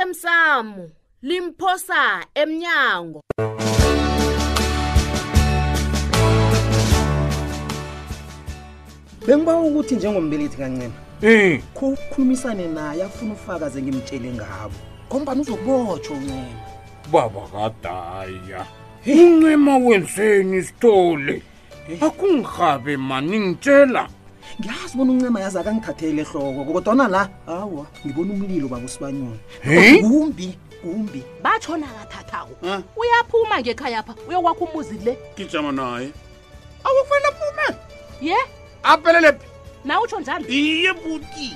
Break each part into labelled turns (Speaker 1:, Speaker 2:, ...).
Speaker 1: osemsamo limphosa emnyango
Speaker 2: bengiba ukuthi njengombelethi kancema
Speaker 3: um
Speaker 2: kukhulumisane naye afuna ufakaze ngimtshele ngabo ngombani uzokubotshwa uncema
Speaker 3: baba kadaya incema wenzeni sithole akungihabe mani ngitshela
Speaker 2: ngiyazi bona uncema yazi akangithathele ehloko kodwana la awa ngibona umlilo bakusibanyoni
Speaker 3: Eh?
Speaker 2: kumbi kumbi
Speaker 4: batshona kathathako
Speaker 5: Ah.
Speaker 4: uyaphuma ngekhaya pha uyokwakha umuzi le
Speaker 5: gijama naye
Speaker 4: awufanele aphume ye
Speaker 5: aphelele phi
Speaker 4: na utsho njani
Speaker 5: iye buti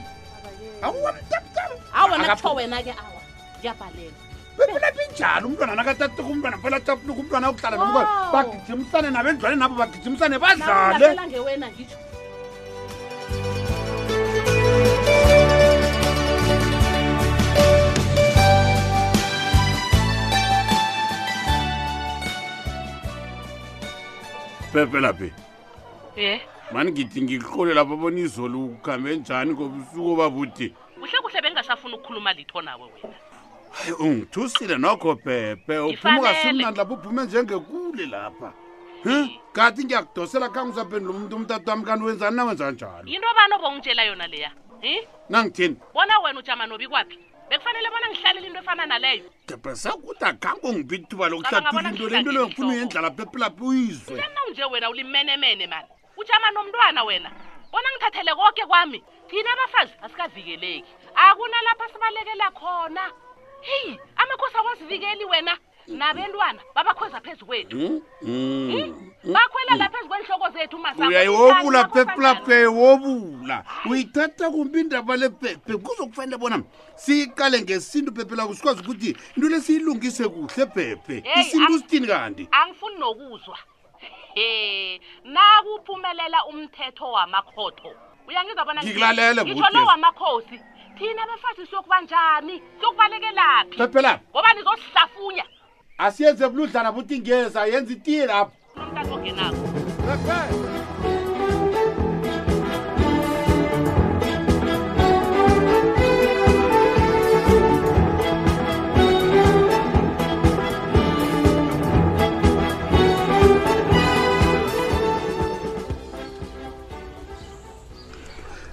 Speaker 5: awuwamtaptap
Speaker 4: awona
Speaker 5: Akaphu-
Speaker 4: kutsho wena ke awa ngiyabhalela
Speaker 5: bephelaphi njalo umntwana nakatatuka umntwana phela tapunuka umntwana yokuhlala nomntwana
Speaker 4: Wow.
Speaker 5: bagijimisane nabendlwane nabo bagijimisane badlale
Speaker 4: naulaphela ngewena ngitsho
Speaker 5: phephelaphi
Speaker 6: ye
Speaker 5: mani ngithi ngikuhlole lapho bona izolo ukuhambe njani ngobusuku babuti
Speaker 6: kuhle kuhle bengasafuna ukukhuluma litho nawe wena
Speaker 5: hayi ungithusile nokho phephe uphumuka
Speaker 6: Ngifanele.
Speaker 5: simnani lapho uphume njengekule lapha Hm? kanti ngiyakudosela khange usaphendula umuntu umtata wami kanti wenzani nawenza njalo
Speaker 6: yinto bani obongitshela yona leya um
Speaker 5: nangithini
Speaker 6: bona wena ujama nobi kwaphi bekufanele bona ngihlalele into efana naleyo
Speaker 5: gebe sekude akhange ungiphi ithuba
Speaker 6: Cabanga
Speaker 5: lokuhlathula
Speaker 6: bona
Speaker 5: into le into leyo ngifuna
Speaker 6: ngihlange
Speaker 5: uyendlala phephelaphi uyizwe
Speaker 6: lana nje wena ulimenemene mani ujama nomntwana wena bona ngithathele konke kwami thina abafazi asikavikeleki akunalapho sibalekela khona heyi amakhosi awasivikeli wena nabentwana babakhweza phezu kwethu
Speaker 5: Hmm? Hmm.
Speaker 6: bakhwela lapha phezu kwenhloko zethu masango.
Speaker 5: uyayihobula
Speaker 6: Kanti
Speaker 5: phephelaphi
Speaker 6: bakhohlakala.
Speaker 5: uyayihobula uyithatha kumbi indaba lephephe kuzokufanele bona siyiqale ngesintu phephelapho sikwazi ukuthi into le siyilungise kuhle phephe
Speaker 6: Hey,
Speaker 5: isintu
Speaker 6: am-
Speaker 5: sithini kanti
Speaker 6: angifuni nokuzwa he nakuphumelela umthetho wamakhotho uyangizwa bona ngithi-
Speaker 5: Ngikulalele,
Speaker 6: Ngitsho
Speaker 5: Bhuti.
Speaker 6: lo wamakhosi thina abafazi siyokuba njani siyokubalekelapi
Speaker 5: phephelaphi
Speaker 6: ngoba nizosihlafunya
Speaker 5: asiyenze buludlana buthi ngeza yenza itiye lapho
Speaker 6: nomntana ongenako
Speaker 5: Phephe.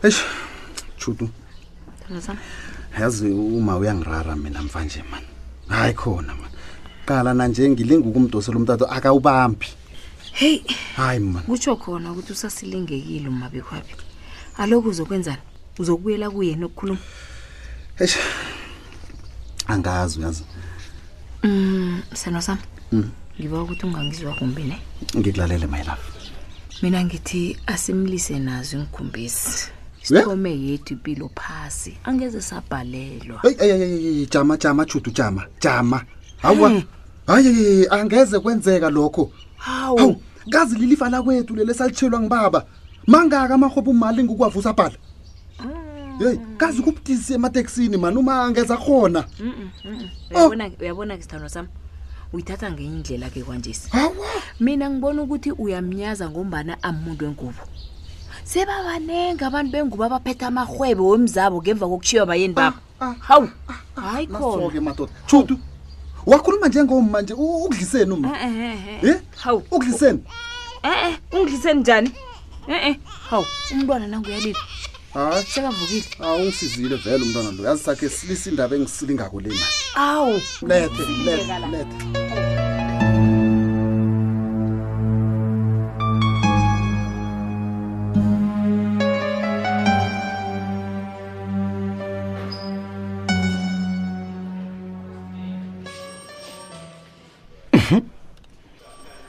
Speaker 7: eish judu yazi uma uyangirara mina mvanje mani hayi khona mani qala nanje ngilinga ukumdosela umtato akawubambi
Speaker 8: heyi
Speaker 7: hayi mani
Speaker 8: kutsho khona ukuthi usasilingekile umabekwaphi alokhu uzokwenzani uzokubuyela kuye nokukhuluma
Speaker 7: eish angazi uyazi
Speaker 8: um seno sami ngiba ukuthi ungangizwa kumbi ne
Speaker 7: ngikulalele my love
Speaker 8: mina ngithi asimlise nazo ingikhumbisi
Speaker 7: We?
Speaker 8: sithome yethu impilo phasi angeze sabhalelwa
Speaker 7: Hey, hey, hey, hey, hey, jama jama judu jama jama hawa hayi hey, hey, angeze kwenzeka lokho
Speaker 8: Oh.
Speaker 7: hawu kazi lilifa lakwethu leli salitshelwa ngibaba mangaka amahobo mali ngukwavusa bhala yeyi kazi kubudisi emateksini mani uma angeza khona Oh.
Speaker 8: uyabona ke sithando sami uyithatha ngenye indlela ke kwanjesi
Speaker 7: hawa
Speaker 8: mina ngibona ukuthi uyamnyaza ngombana amuntu wengubo sebabanenge abantu bengubo abaphethe amarhwebo wemzabo ngemva kokushiywa bayeni babo
Speaker 7: Ah, ah,
Speaker 8: hawu hayi khona
Speaker 7: nasoke madoda judu wakhuluma njengoma nje u- ukudliseni uma
Speaker 8: Eh, eh, eh, eh.
Speaker 7: ye
Speaker 8: hawu
Speaker 7: ukudliseni
Speaker 8: e-e ungidliseni njani e-e hawu umntwana nanguyalile
Speaker 7: hayi
Speaker 8: sekavukile
Speaker 7: awungisizile vele umntwana lo yazi sakhe silisa indaba engisilingako le mali
Speaker 8: awu
Speaker 7: lethe lethe lethe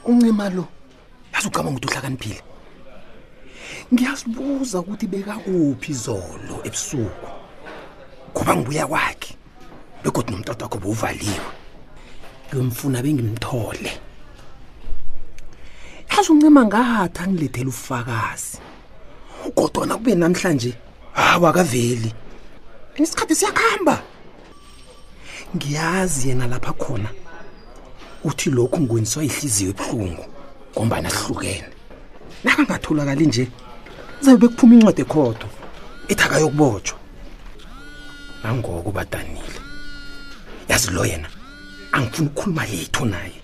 Speaker 2: uncema lo yazi ucabanga ukuthi uhlakaniphile ngiyasibuza ukuthi bekakuphi izolo ebusuku ngoba ngibuya kwakhe begodwa nomntata wakho bewuvaliwe ngiyomfuna bengimthole yazi uncema ngathi angilethela ufakazi kodwana kube namhlanje hawu akaveli and isikhathi siyakuhamba ngiyazi yena lapha khona uthi lokhu ngweniswa ihliziyo ebuhlungu ngombana sihlukene nakangatholakali nje zabe bekuphuma incwadi ekhodo ethi akayokubotshwa nangoko badanile yazi lo yena angifuni ukukhuluma letho naye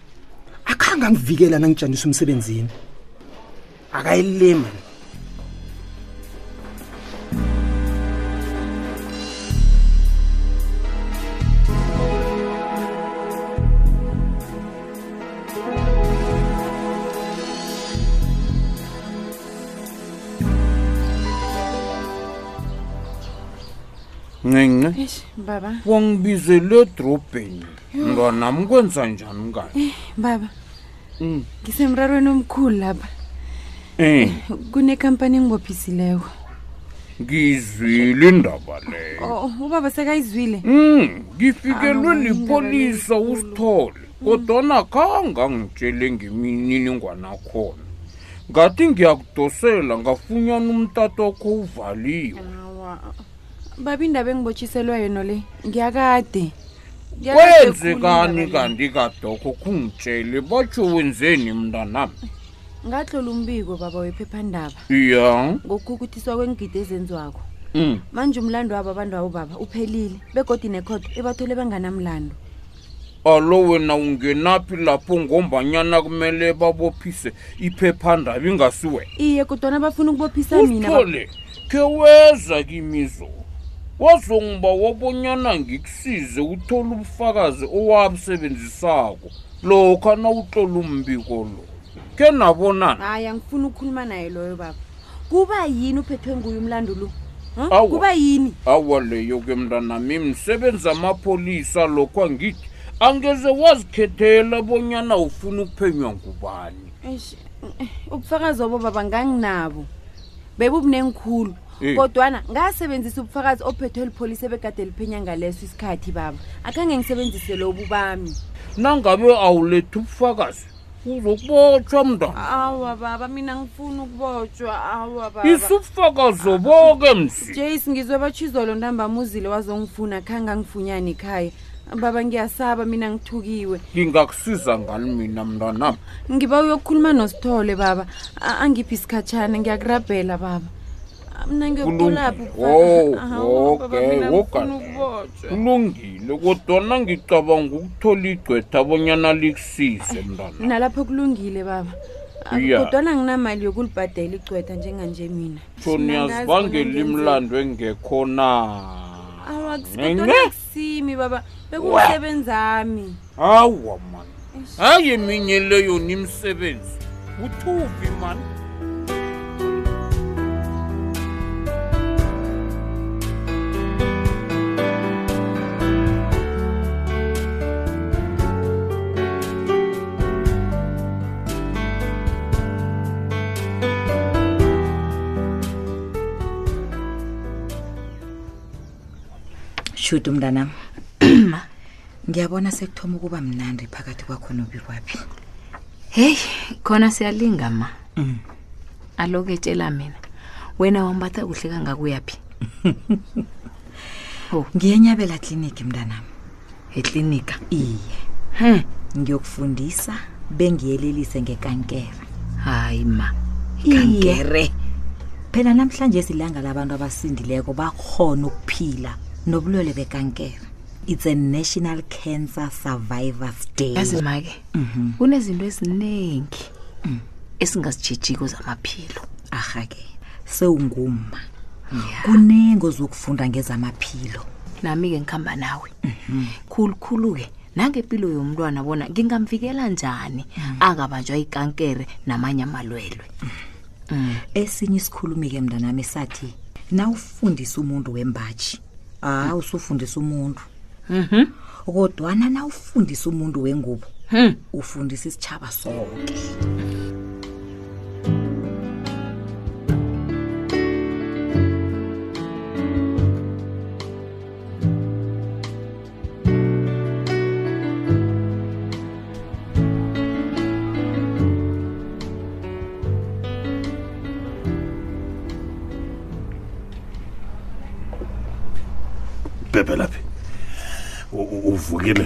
Speaker 2: akhange angivikela nangitshanisa umsebenzini akayilima
Speaker 3: ncinci
Speaker 9: Eish, baba
Speaker 3: wangibizele edrobheni mntwanam kwenza njani mngani
Speaker 9: baba
Speaker 3: Mm.
Speaker 9: ngisemrarweni omkhulu lapha
Speaker 3: um
Speaker 9: kunekhampani engibophisileko
Speaker 3: ngizwile indaba leyo
Speaker 9: oh, ubaba sekayizwile
Speaker 3: um ngifikelwe
Speaker 9: Awu,
Speaker 3: lipolisa
Speaker 9: indaba
Speaker 3: usithole kodwana khange angitshele ngemininingwana khona ngathi ngiyakudosela ngafunyana umtata wakho uvaliwe
Speaker 9: Awa. baba indaba engibotshiselwa yona le ngiyakade Ngiyakade
Speaker 3: kwenze
Speaker 9: khulu
Speaker 3: kani
Speaker 9: indaba le.
Speaker 3: kanti kadoko kungitshele batsho wenzeni mntanam
Speaker 9: ngatlola umbiko baba wephephandaba
Speaker 3: ya
Speaker 9: ngokukhukuthiswa kwengidi ezenziwako
Speaker 3: mm.
Speaker 9: manje umlando wabo abantu wabo baba uphelile begodi nekhodo ebathole banganamlando
Speaker 3: alo wena ungenaphi lapho ngombanyana kumele babophise iphephandaba ingasiwena
Speaker 9: iye kodwana bafuna ukubophisa mina baba.
Speaker 3: usithole khe weza kimizo wazongiba wabonyana ngikusize uthole ubufakazi owabusebenzisako lokha nawutlola umbiko lo khe nabonana
Speaker 9: hayi angifuni ukukhuluma naye loyo baba kuba yini uphethwe nguye umlando lo Huh?
Speaker 3: Awa.
Speaker 9: kuba yini
Speaker 3: awa leyo ke mntanami msebenzi amapholisa lokho angithi angeze wazikhethela bonyana ufuna ukuphenywa ngubani
Speaker 9: Eish, eh, ubufakazi obo baba nganginabo bebubunengikhulu
Speaker 3: Eh.
Speaker 9: kodwana ngasebenzisa ubufakazi ophethwe lipholisa ebegade liphenya ngaleso isikhathi baba akhange ngisebenzise lobu bami
Speaker 3: nangabe awulethi ubufakazi uzokubotshwa mntana
Speaker 9: awa baba mina ngifuna ukubotshwa awa baba
Speaker 3: isubufakazi
Speaker 9: ah,
Speaker 3: oboke msi
Speaker 9: jace ngizwe batshizolo ntambam uzile wazongifuna khange angifunyane ekhaya baba ngiyasaba mina ngithukiwe
Speaker 3: ngingakusiza ngani mina mntanam
Speaker 9: ngiba uyokukhuluma nosithole baba A- angiphi isikhatshana ngiyakurabhela baba Ah, mna ngiyokulapha
Speaker 3: Kulungile. Oh, okay, woga le. kulungile kodwana ngicabanga ukuthola igcwetha abonyana likusize mntana
Speaker 9: nalapho kulungile baba Ah,
Speaker 3: Ya.
Speaker 9: kodwana nginamali yokulibhadela igcwetha njenganje mina
Speaker 3: tshoni
Speaker 9: Mina angazi bona
Speaker 3: yazibangela
Speaker 9: ngenzeni.
Speaker 3: imlando engekho na
Speaker 9: Awa, akusi-
Speaker 3: Nenge?
Speaker 9: kodwana akusimi baba bekumsebenzi ami
Speaker 3: awa mani hayi eminye leyo nimsebenzi uthuvi mani
Speaker 10: shuti mntanam ngiyabona sekuthoma ukuba mnandi phakathi kwakho nobikwaphi
Speaker 8: heyi khona siyalinga ma
Speaker 10: Mm.
Speaker 8: aloke tshela mina wena wambatha kuhle kangakuyaphi
Speaker 10: ngiyenyabela kliniki mntanam
Speaker 8: eklinika
Speaker 10: iye
Speaker 8: Hmm.
Speaker 10: ngiyokufundisa bengiyelelise ngekankere
Speaker 8: hayi ma
Speaker 10: kankere phela namhlanje silanga labantu abasindileko bakhona ukuphila nobulwele bekankere it's a national cancer survivors day
Speaker 8: yazi ma-ke kunezinto eziningi esingazitshejiko zamaphilo
Speaker 10: arha ke sewungumma kunengo zokufunda ngezamaphilo
Speaker 8: nami-ke ngihamba nawe khulukhulu-ke nangempilo yomntwana bona ngingamvikela njani angabanjwa ikankere namanye amalwelwe
Speaker 10: esinye isikhulumi-ke mntanami sathi nawufundisa umuntu wembaji hawu usufundisa umuntu kodwana nawufundisa umuntu wengubo ufundisa isitshaba sonke
Speaker 5: bhebhe laphi U- u- uvukile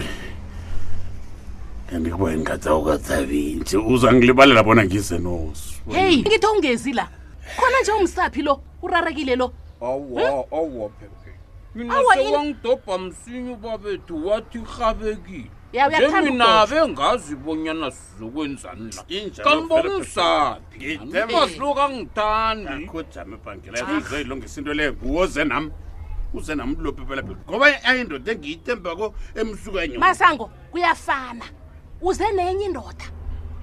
Speaker 5: kanti kuba ingadaukadabinje uzangilibalela bona ngize nosu
Speaker 6: heyi ngithi ungezi la khona nje umsaphi lo urarekile lo
Speaker 3: awa awa phephe mina
Speaker 4: Hmm? Awa, yini-
Speaker 3: sewangidobha msinya ubabethu wathi rhabekile
Speaker 4: Ya, uyathanda
Speaker 3: njemina
Speaker 4: ukudobha.
Speaker 3: bengazi bonyana sizokwenzani la
Speaker 5: Injalo
Speaker 3: kanibona
Speaker 5: vele
Speaker 3: usaphi
Speaker 5: Ngithemba.
Speaker 3: masiloku angithandi
Speaker 5: kojama ebhangela ezoyilungisa into leyo nguwo ze nam uze nam lopepelapeli ngoba ayindoda engiyitembako emsukanye
Speaker 4: masango kuyafana uze nenye indoda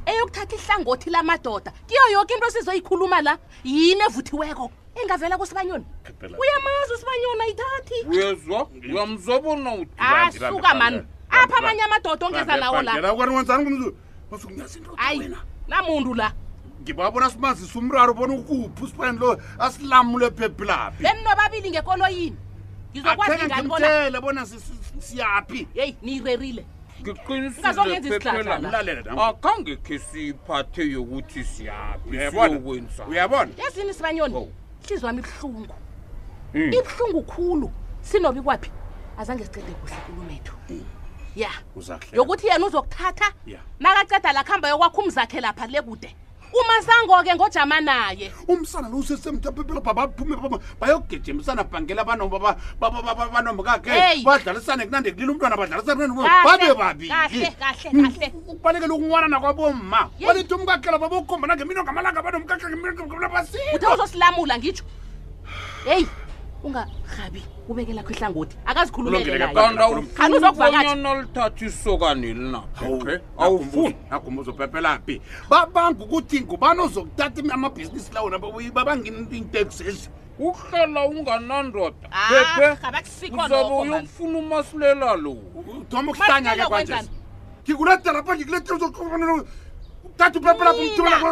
Speaker 4: eyokuthatha ihlangothi lamadoda kiyo yoke into esizoyikhuluma la yini evuthiweko engavela kusibanyoni uyamazi usibanyoni ayithathi
Speaker 3: uyezwa uyamzwa bona
Speaker 4: asuka mani apha amanye amadoda ongeza nawo la
Speaker 5: kwaniwenzani kumzu basukunyaza indoda
Speaker 4: hayi namuntu la
Speaker 5: ngibabona simazisa umraro bona ukuphi usipani lo asilamule phephelaphi
Speaker 4: beni nobabili ngekoloyini ngizokwazi
Speaker 5: Athenge
Speaker 4: ngani
Speaker 5: ngimtjele
Speaker 4: bona
Speaker 5: bona si- si- siyaphi
Speaker 4: yeyi niyirerile Ungazoyenza
Speaker 3: ngiqinisile
Speaker 4: isihlahla
Speaker 3: phephela
Speaker 4: la.
Speaker 5: Lalela nam.
Speaker 3: akhange khe siyiphathe yokuthi siyaphi
Speaker 5: Uyabona?
Speaker 3: siyokwenza
Speaker 5: uyabona
Speaker 4: yazini sibanyoni hlizwa wami ibuhlungu
Speaker 3: Mm.
Speaker 4: ibuhlungu khulu sinobi kwaphi azange sicede kuhle kulumethu ya
Speaker 5: uzahle
Speaker 4: yokuthi yena uzokuthatha
Speaker 5: ya
Speaker 4: nakaceda lakuhamba yokwakho umzakhe lapha le kude umasango-ke ngojama naye
Speaker 5: umsana lo usesemthaphephela babaphume bayogijimisana bhangela banomkakhe
Speaker 4: Hey.
Speaker 5: badlalisane kunande kulile umntwana badlalisane kunande-
Speaker 4: Kahle,
Speaker 5: babe babili
Speaker 4: kahle kahle kahle
Speaker 5: ukubalekela ukunwanana kwabomma
Speaker 4: Yeyi.
Speaker 5: balithi umkakhela babokhombana ngemino ngamalanga
Speaker 4: uthi
Speaker 5: banomkakhe
Speaker 4: uzosilamula ngitsho heyi ungarhabi ubelakho ihlangothi akazikhulumele naye Kanti uzokuvakatjha.
Speaker 3: bonyana lithatha isokane linaphe
Speaker 5: awufuni naguma uzophephela phi babanga ukuthi ngubani ozokuthatha amabhizinisi lawo babanginteksi ezi
Speaker 3: uhlala unganandoda
Speaker 4: Ah, abakusikho
Speaker 3: uzabe
Speaker 4: lokho, man.
Speaker 3: uyokufuna umasilela lo
Speaker 5: uthoma ukuhlanya-ke
Speaker 4: Masilela
Speaker 5: kwanje
Speaker 4: kwenzani?
Speaker 5: ngikulethela pha ngikuletela uthatha uphephela
Speaker 4: mina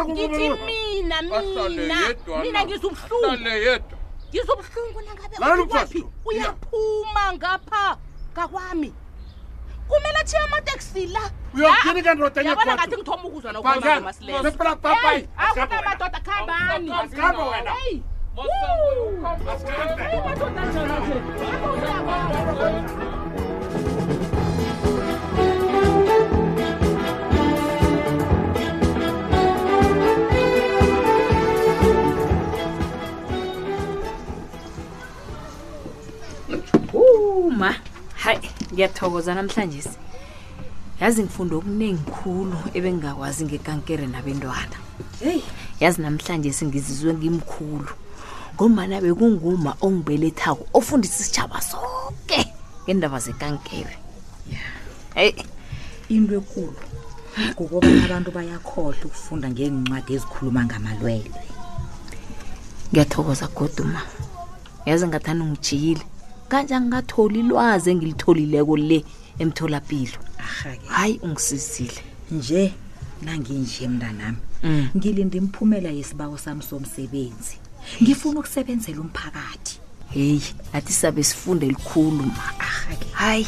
Speaker 4: ngithi mina
Speaker 3: Ahlale yedwa
Speaker 4: mina mina
Speaker 3: na.
Speaker 4: ngizubuhlungu
Speaker 3: Ahlale yedwa
Speaker 4: ngizobuhlungu nangabe
Speaker 5: Lalela
Speaker 4: uthi
Speaker 5: umfazi
Speaker 4: kwaphi
Speaker 5: lo.
Speaker 4: uyaphuma ngapha ngakwami kumele atshiye amateksi la
Speaker 5: Uyokuthini ke ndoda enye
Speaker 4: Yabona
Speaker 5: godu?
Speaker 4: ngathi ngithoma ukuzwa
Speaker 5: Bhangela, phela phapa, hayi, asikhamba wena.
Speaker 4: nokumasilaakunamadoda khambani
Speaker 5: Asikhamba wena.
Speaker 4: Hey,
Speaker 5: Asikhamba.
Speaker 4: amadoda njani nje? Lapho uzabona.
Speaker 8: uma hayi ngiyathokoza namhlanje yazi ngifunde okuningi khulu ebengingakwazi ngekankere nabentwana heyi yazi namhlanje singizizwe ngimkhulu ngombana bekunguma ongibelethako ofundisa isitshaba sonke ngendaba zekankere heyi
Speaker 10: into ekulu ngokobana abantu bayakhohlwa ukufunda ngeencwadi ezikhuluma ngamalwelwe
Speaker 8: ngiyathokoza goduma yazi ngathani ungijiyile kanje angingatholi lwazi engilitholileko le emtholapilo
Speaker 10: arhake
Speaker 8: hayi ungisizile
Speaker 10: nje nanginje mntanami
Speaker 8: Mm.
Speaker 10: ngilinde imiphumela yesibawo sami somsebenzi ngifuna ukusebenzela umphakathi
Speaker 8: heyi nathi sabe sifunde likhulu ma
Speaker 10: arhake
Speaker 8: hayi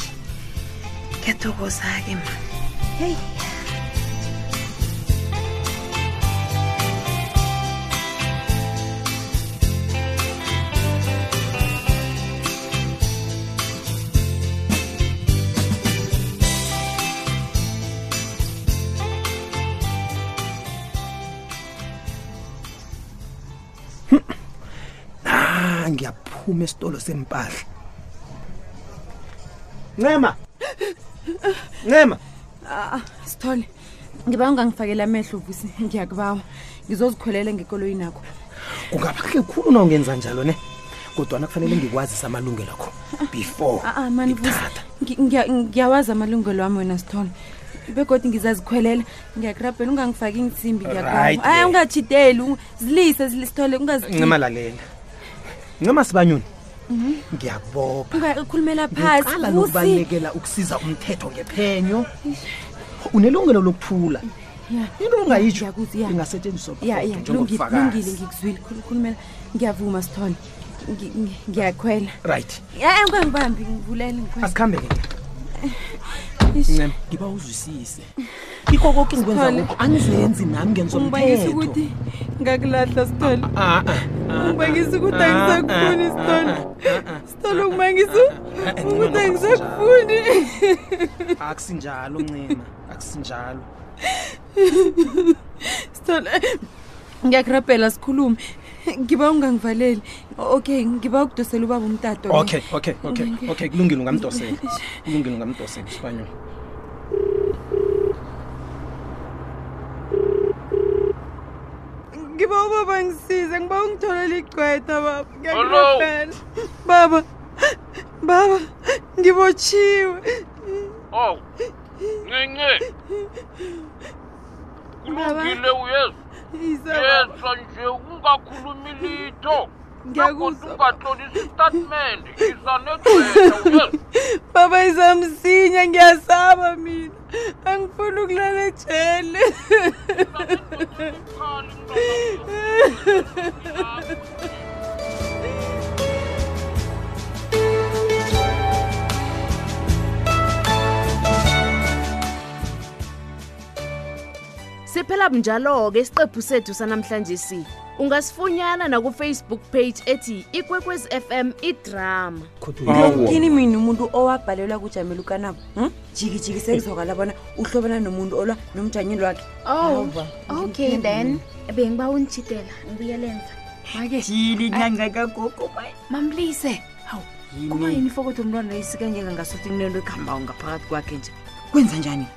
Speaker 8: ngiyathokoza-ke ma
Speaker 10: heyi
Speaker 2: ah ngiyaphuma esitolo sempahla
Speaker 9: ncema ncema sithole ngiba ungangifakela amehlo vusi ngiyakubawa ngizozikhwelela ngekoloyini akho
Speaker 2: kungaba kuhle khulu na ungenza njalo ne kodwana kufanele ngikwazisa amalungelo akho before
Speaker 9: a-a mani Ah, vusi ngi- ngiya- ngiyawazi amalungelo wami wena sithole begodi ngizazikhwelela ngiyakurabhela ungangifaki ngitsimbi
Speaker 2: Right,
Speaker 9: ngiyakubawa ayi
Speaker 2: yeah.
Speaker 9: ungatshideli u- zilise zili- sithole
Speaker 2: ncema
Speaker 9: ungazikhulumela
Speaker 2: lalela ncema sibanyoni
Speaker 9: Mhm.
Speaker 2: ngiyakubopha
Speaker 9: phasi
Speaker 2: Ngiqala
Speaker 9: Vusi.
Speaker 2: nokubalekela ukusiza umthetho ngephenyo unelungelo lokuphula
Speaker 9: Ya.
Speaker 2: into ongayitsho
Speaker 9: Ngiyakuzi, ya.
Speaker 2: ingasetshenziswa
Speaker 9: ya
Speaker 2: bodwa
Speaker 9: ya kulungile
Speaker 2: njengobufakazi.
Speaker 9: kulungile, ngikuzwile khulu- khulumela ngiyavuma sithole Ngi- ngi- ngiyakhwela
Speaker 2: right
Speaker 9: ya ungangibambi ngivulele ngikhwele.
Speaker 2: asikhambeke
Speaker 9: Ish.
Speaker 2: ncema ngiba uzwisise kiko koke engikwenza
Speaker 9: Sithole.
Speaker 2: lokhu angizenzi nami
Speaker 9: ungibangisa
Speaker 2: ngenzomthetho
Speaker 9: ukuthi ngakulahla sithole
Speaker 2: Ah, ah, ah,
Speaker 9: ungibangisa ukuthi
Speaker 2: ah,
Speaker 9: angisakufuni
Speaker 2: ah,
Speaker 9: sithole sithole ungibangisa ukuthi
Speaker 2: ncema,
Speaker 9: angisakufuni
Speaker 2: ah, akusinjalo ncema akusinjalo
Speaker 9: sithole ngiyakurabhela sikhulume ngiba ungangivaleli okay ngiba ukudosela ubaba umtato ne.
Speaker 2: okay okay okay
Speaker 9: Ngeke-
Speaker 2: okay kulungile ungamdosela kulungile ungamdosela isibanyolo
Speaker 9: ngiba ubaba ngisize ngiba ungitholele igcwetha baba
Speaker 3: Hello?
Speaker 9: ngiyakurabhela baba baba ngibotshiwe
Speaker 3: awu ncince kulungile uyeza yeza nje ungakhulumi litho
Speaker 9: ngiyakuzwa
Speaker 3: ungatlolisa istatimende iza negcwetha uyeza
Speaker 9: baba izamsinya ngiyasaba mina angifuni ukulala ejele
Speaker 1: siphela bunjalo-ke isiqephu sethu sanamhlanje si ungasifunyana nakufacebook page ethi ikwekwezi fm idrama
Speaker 9: yini mina umuntu owabhalelwa kujamela ukanabo hm? jikijiki sekuzwakala bona uhlobana nomuntu olwa nomjanyeni wakhe
Speaker 11: Oh,
Speaker 9: Hawa,
Speaker 11: okay then. Bengiba unitshidela, ngibuyelenza. Make jili nyanga kagogo bayi.
Speaker 8: mamlise hawu kuba yini fokotho umntwana isikanyeka ngasuthi kunento ekuhambako ngaphakathi kwakhe nje kwenza njani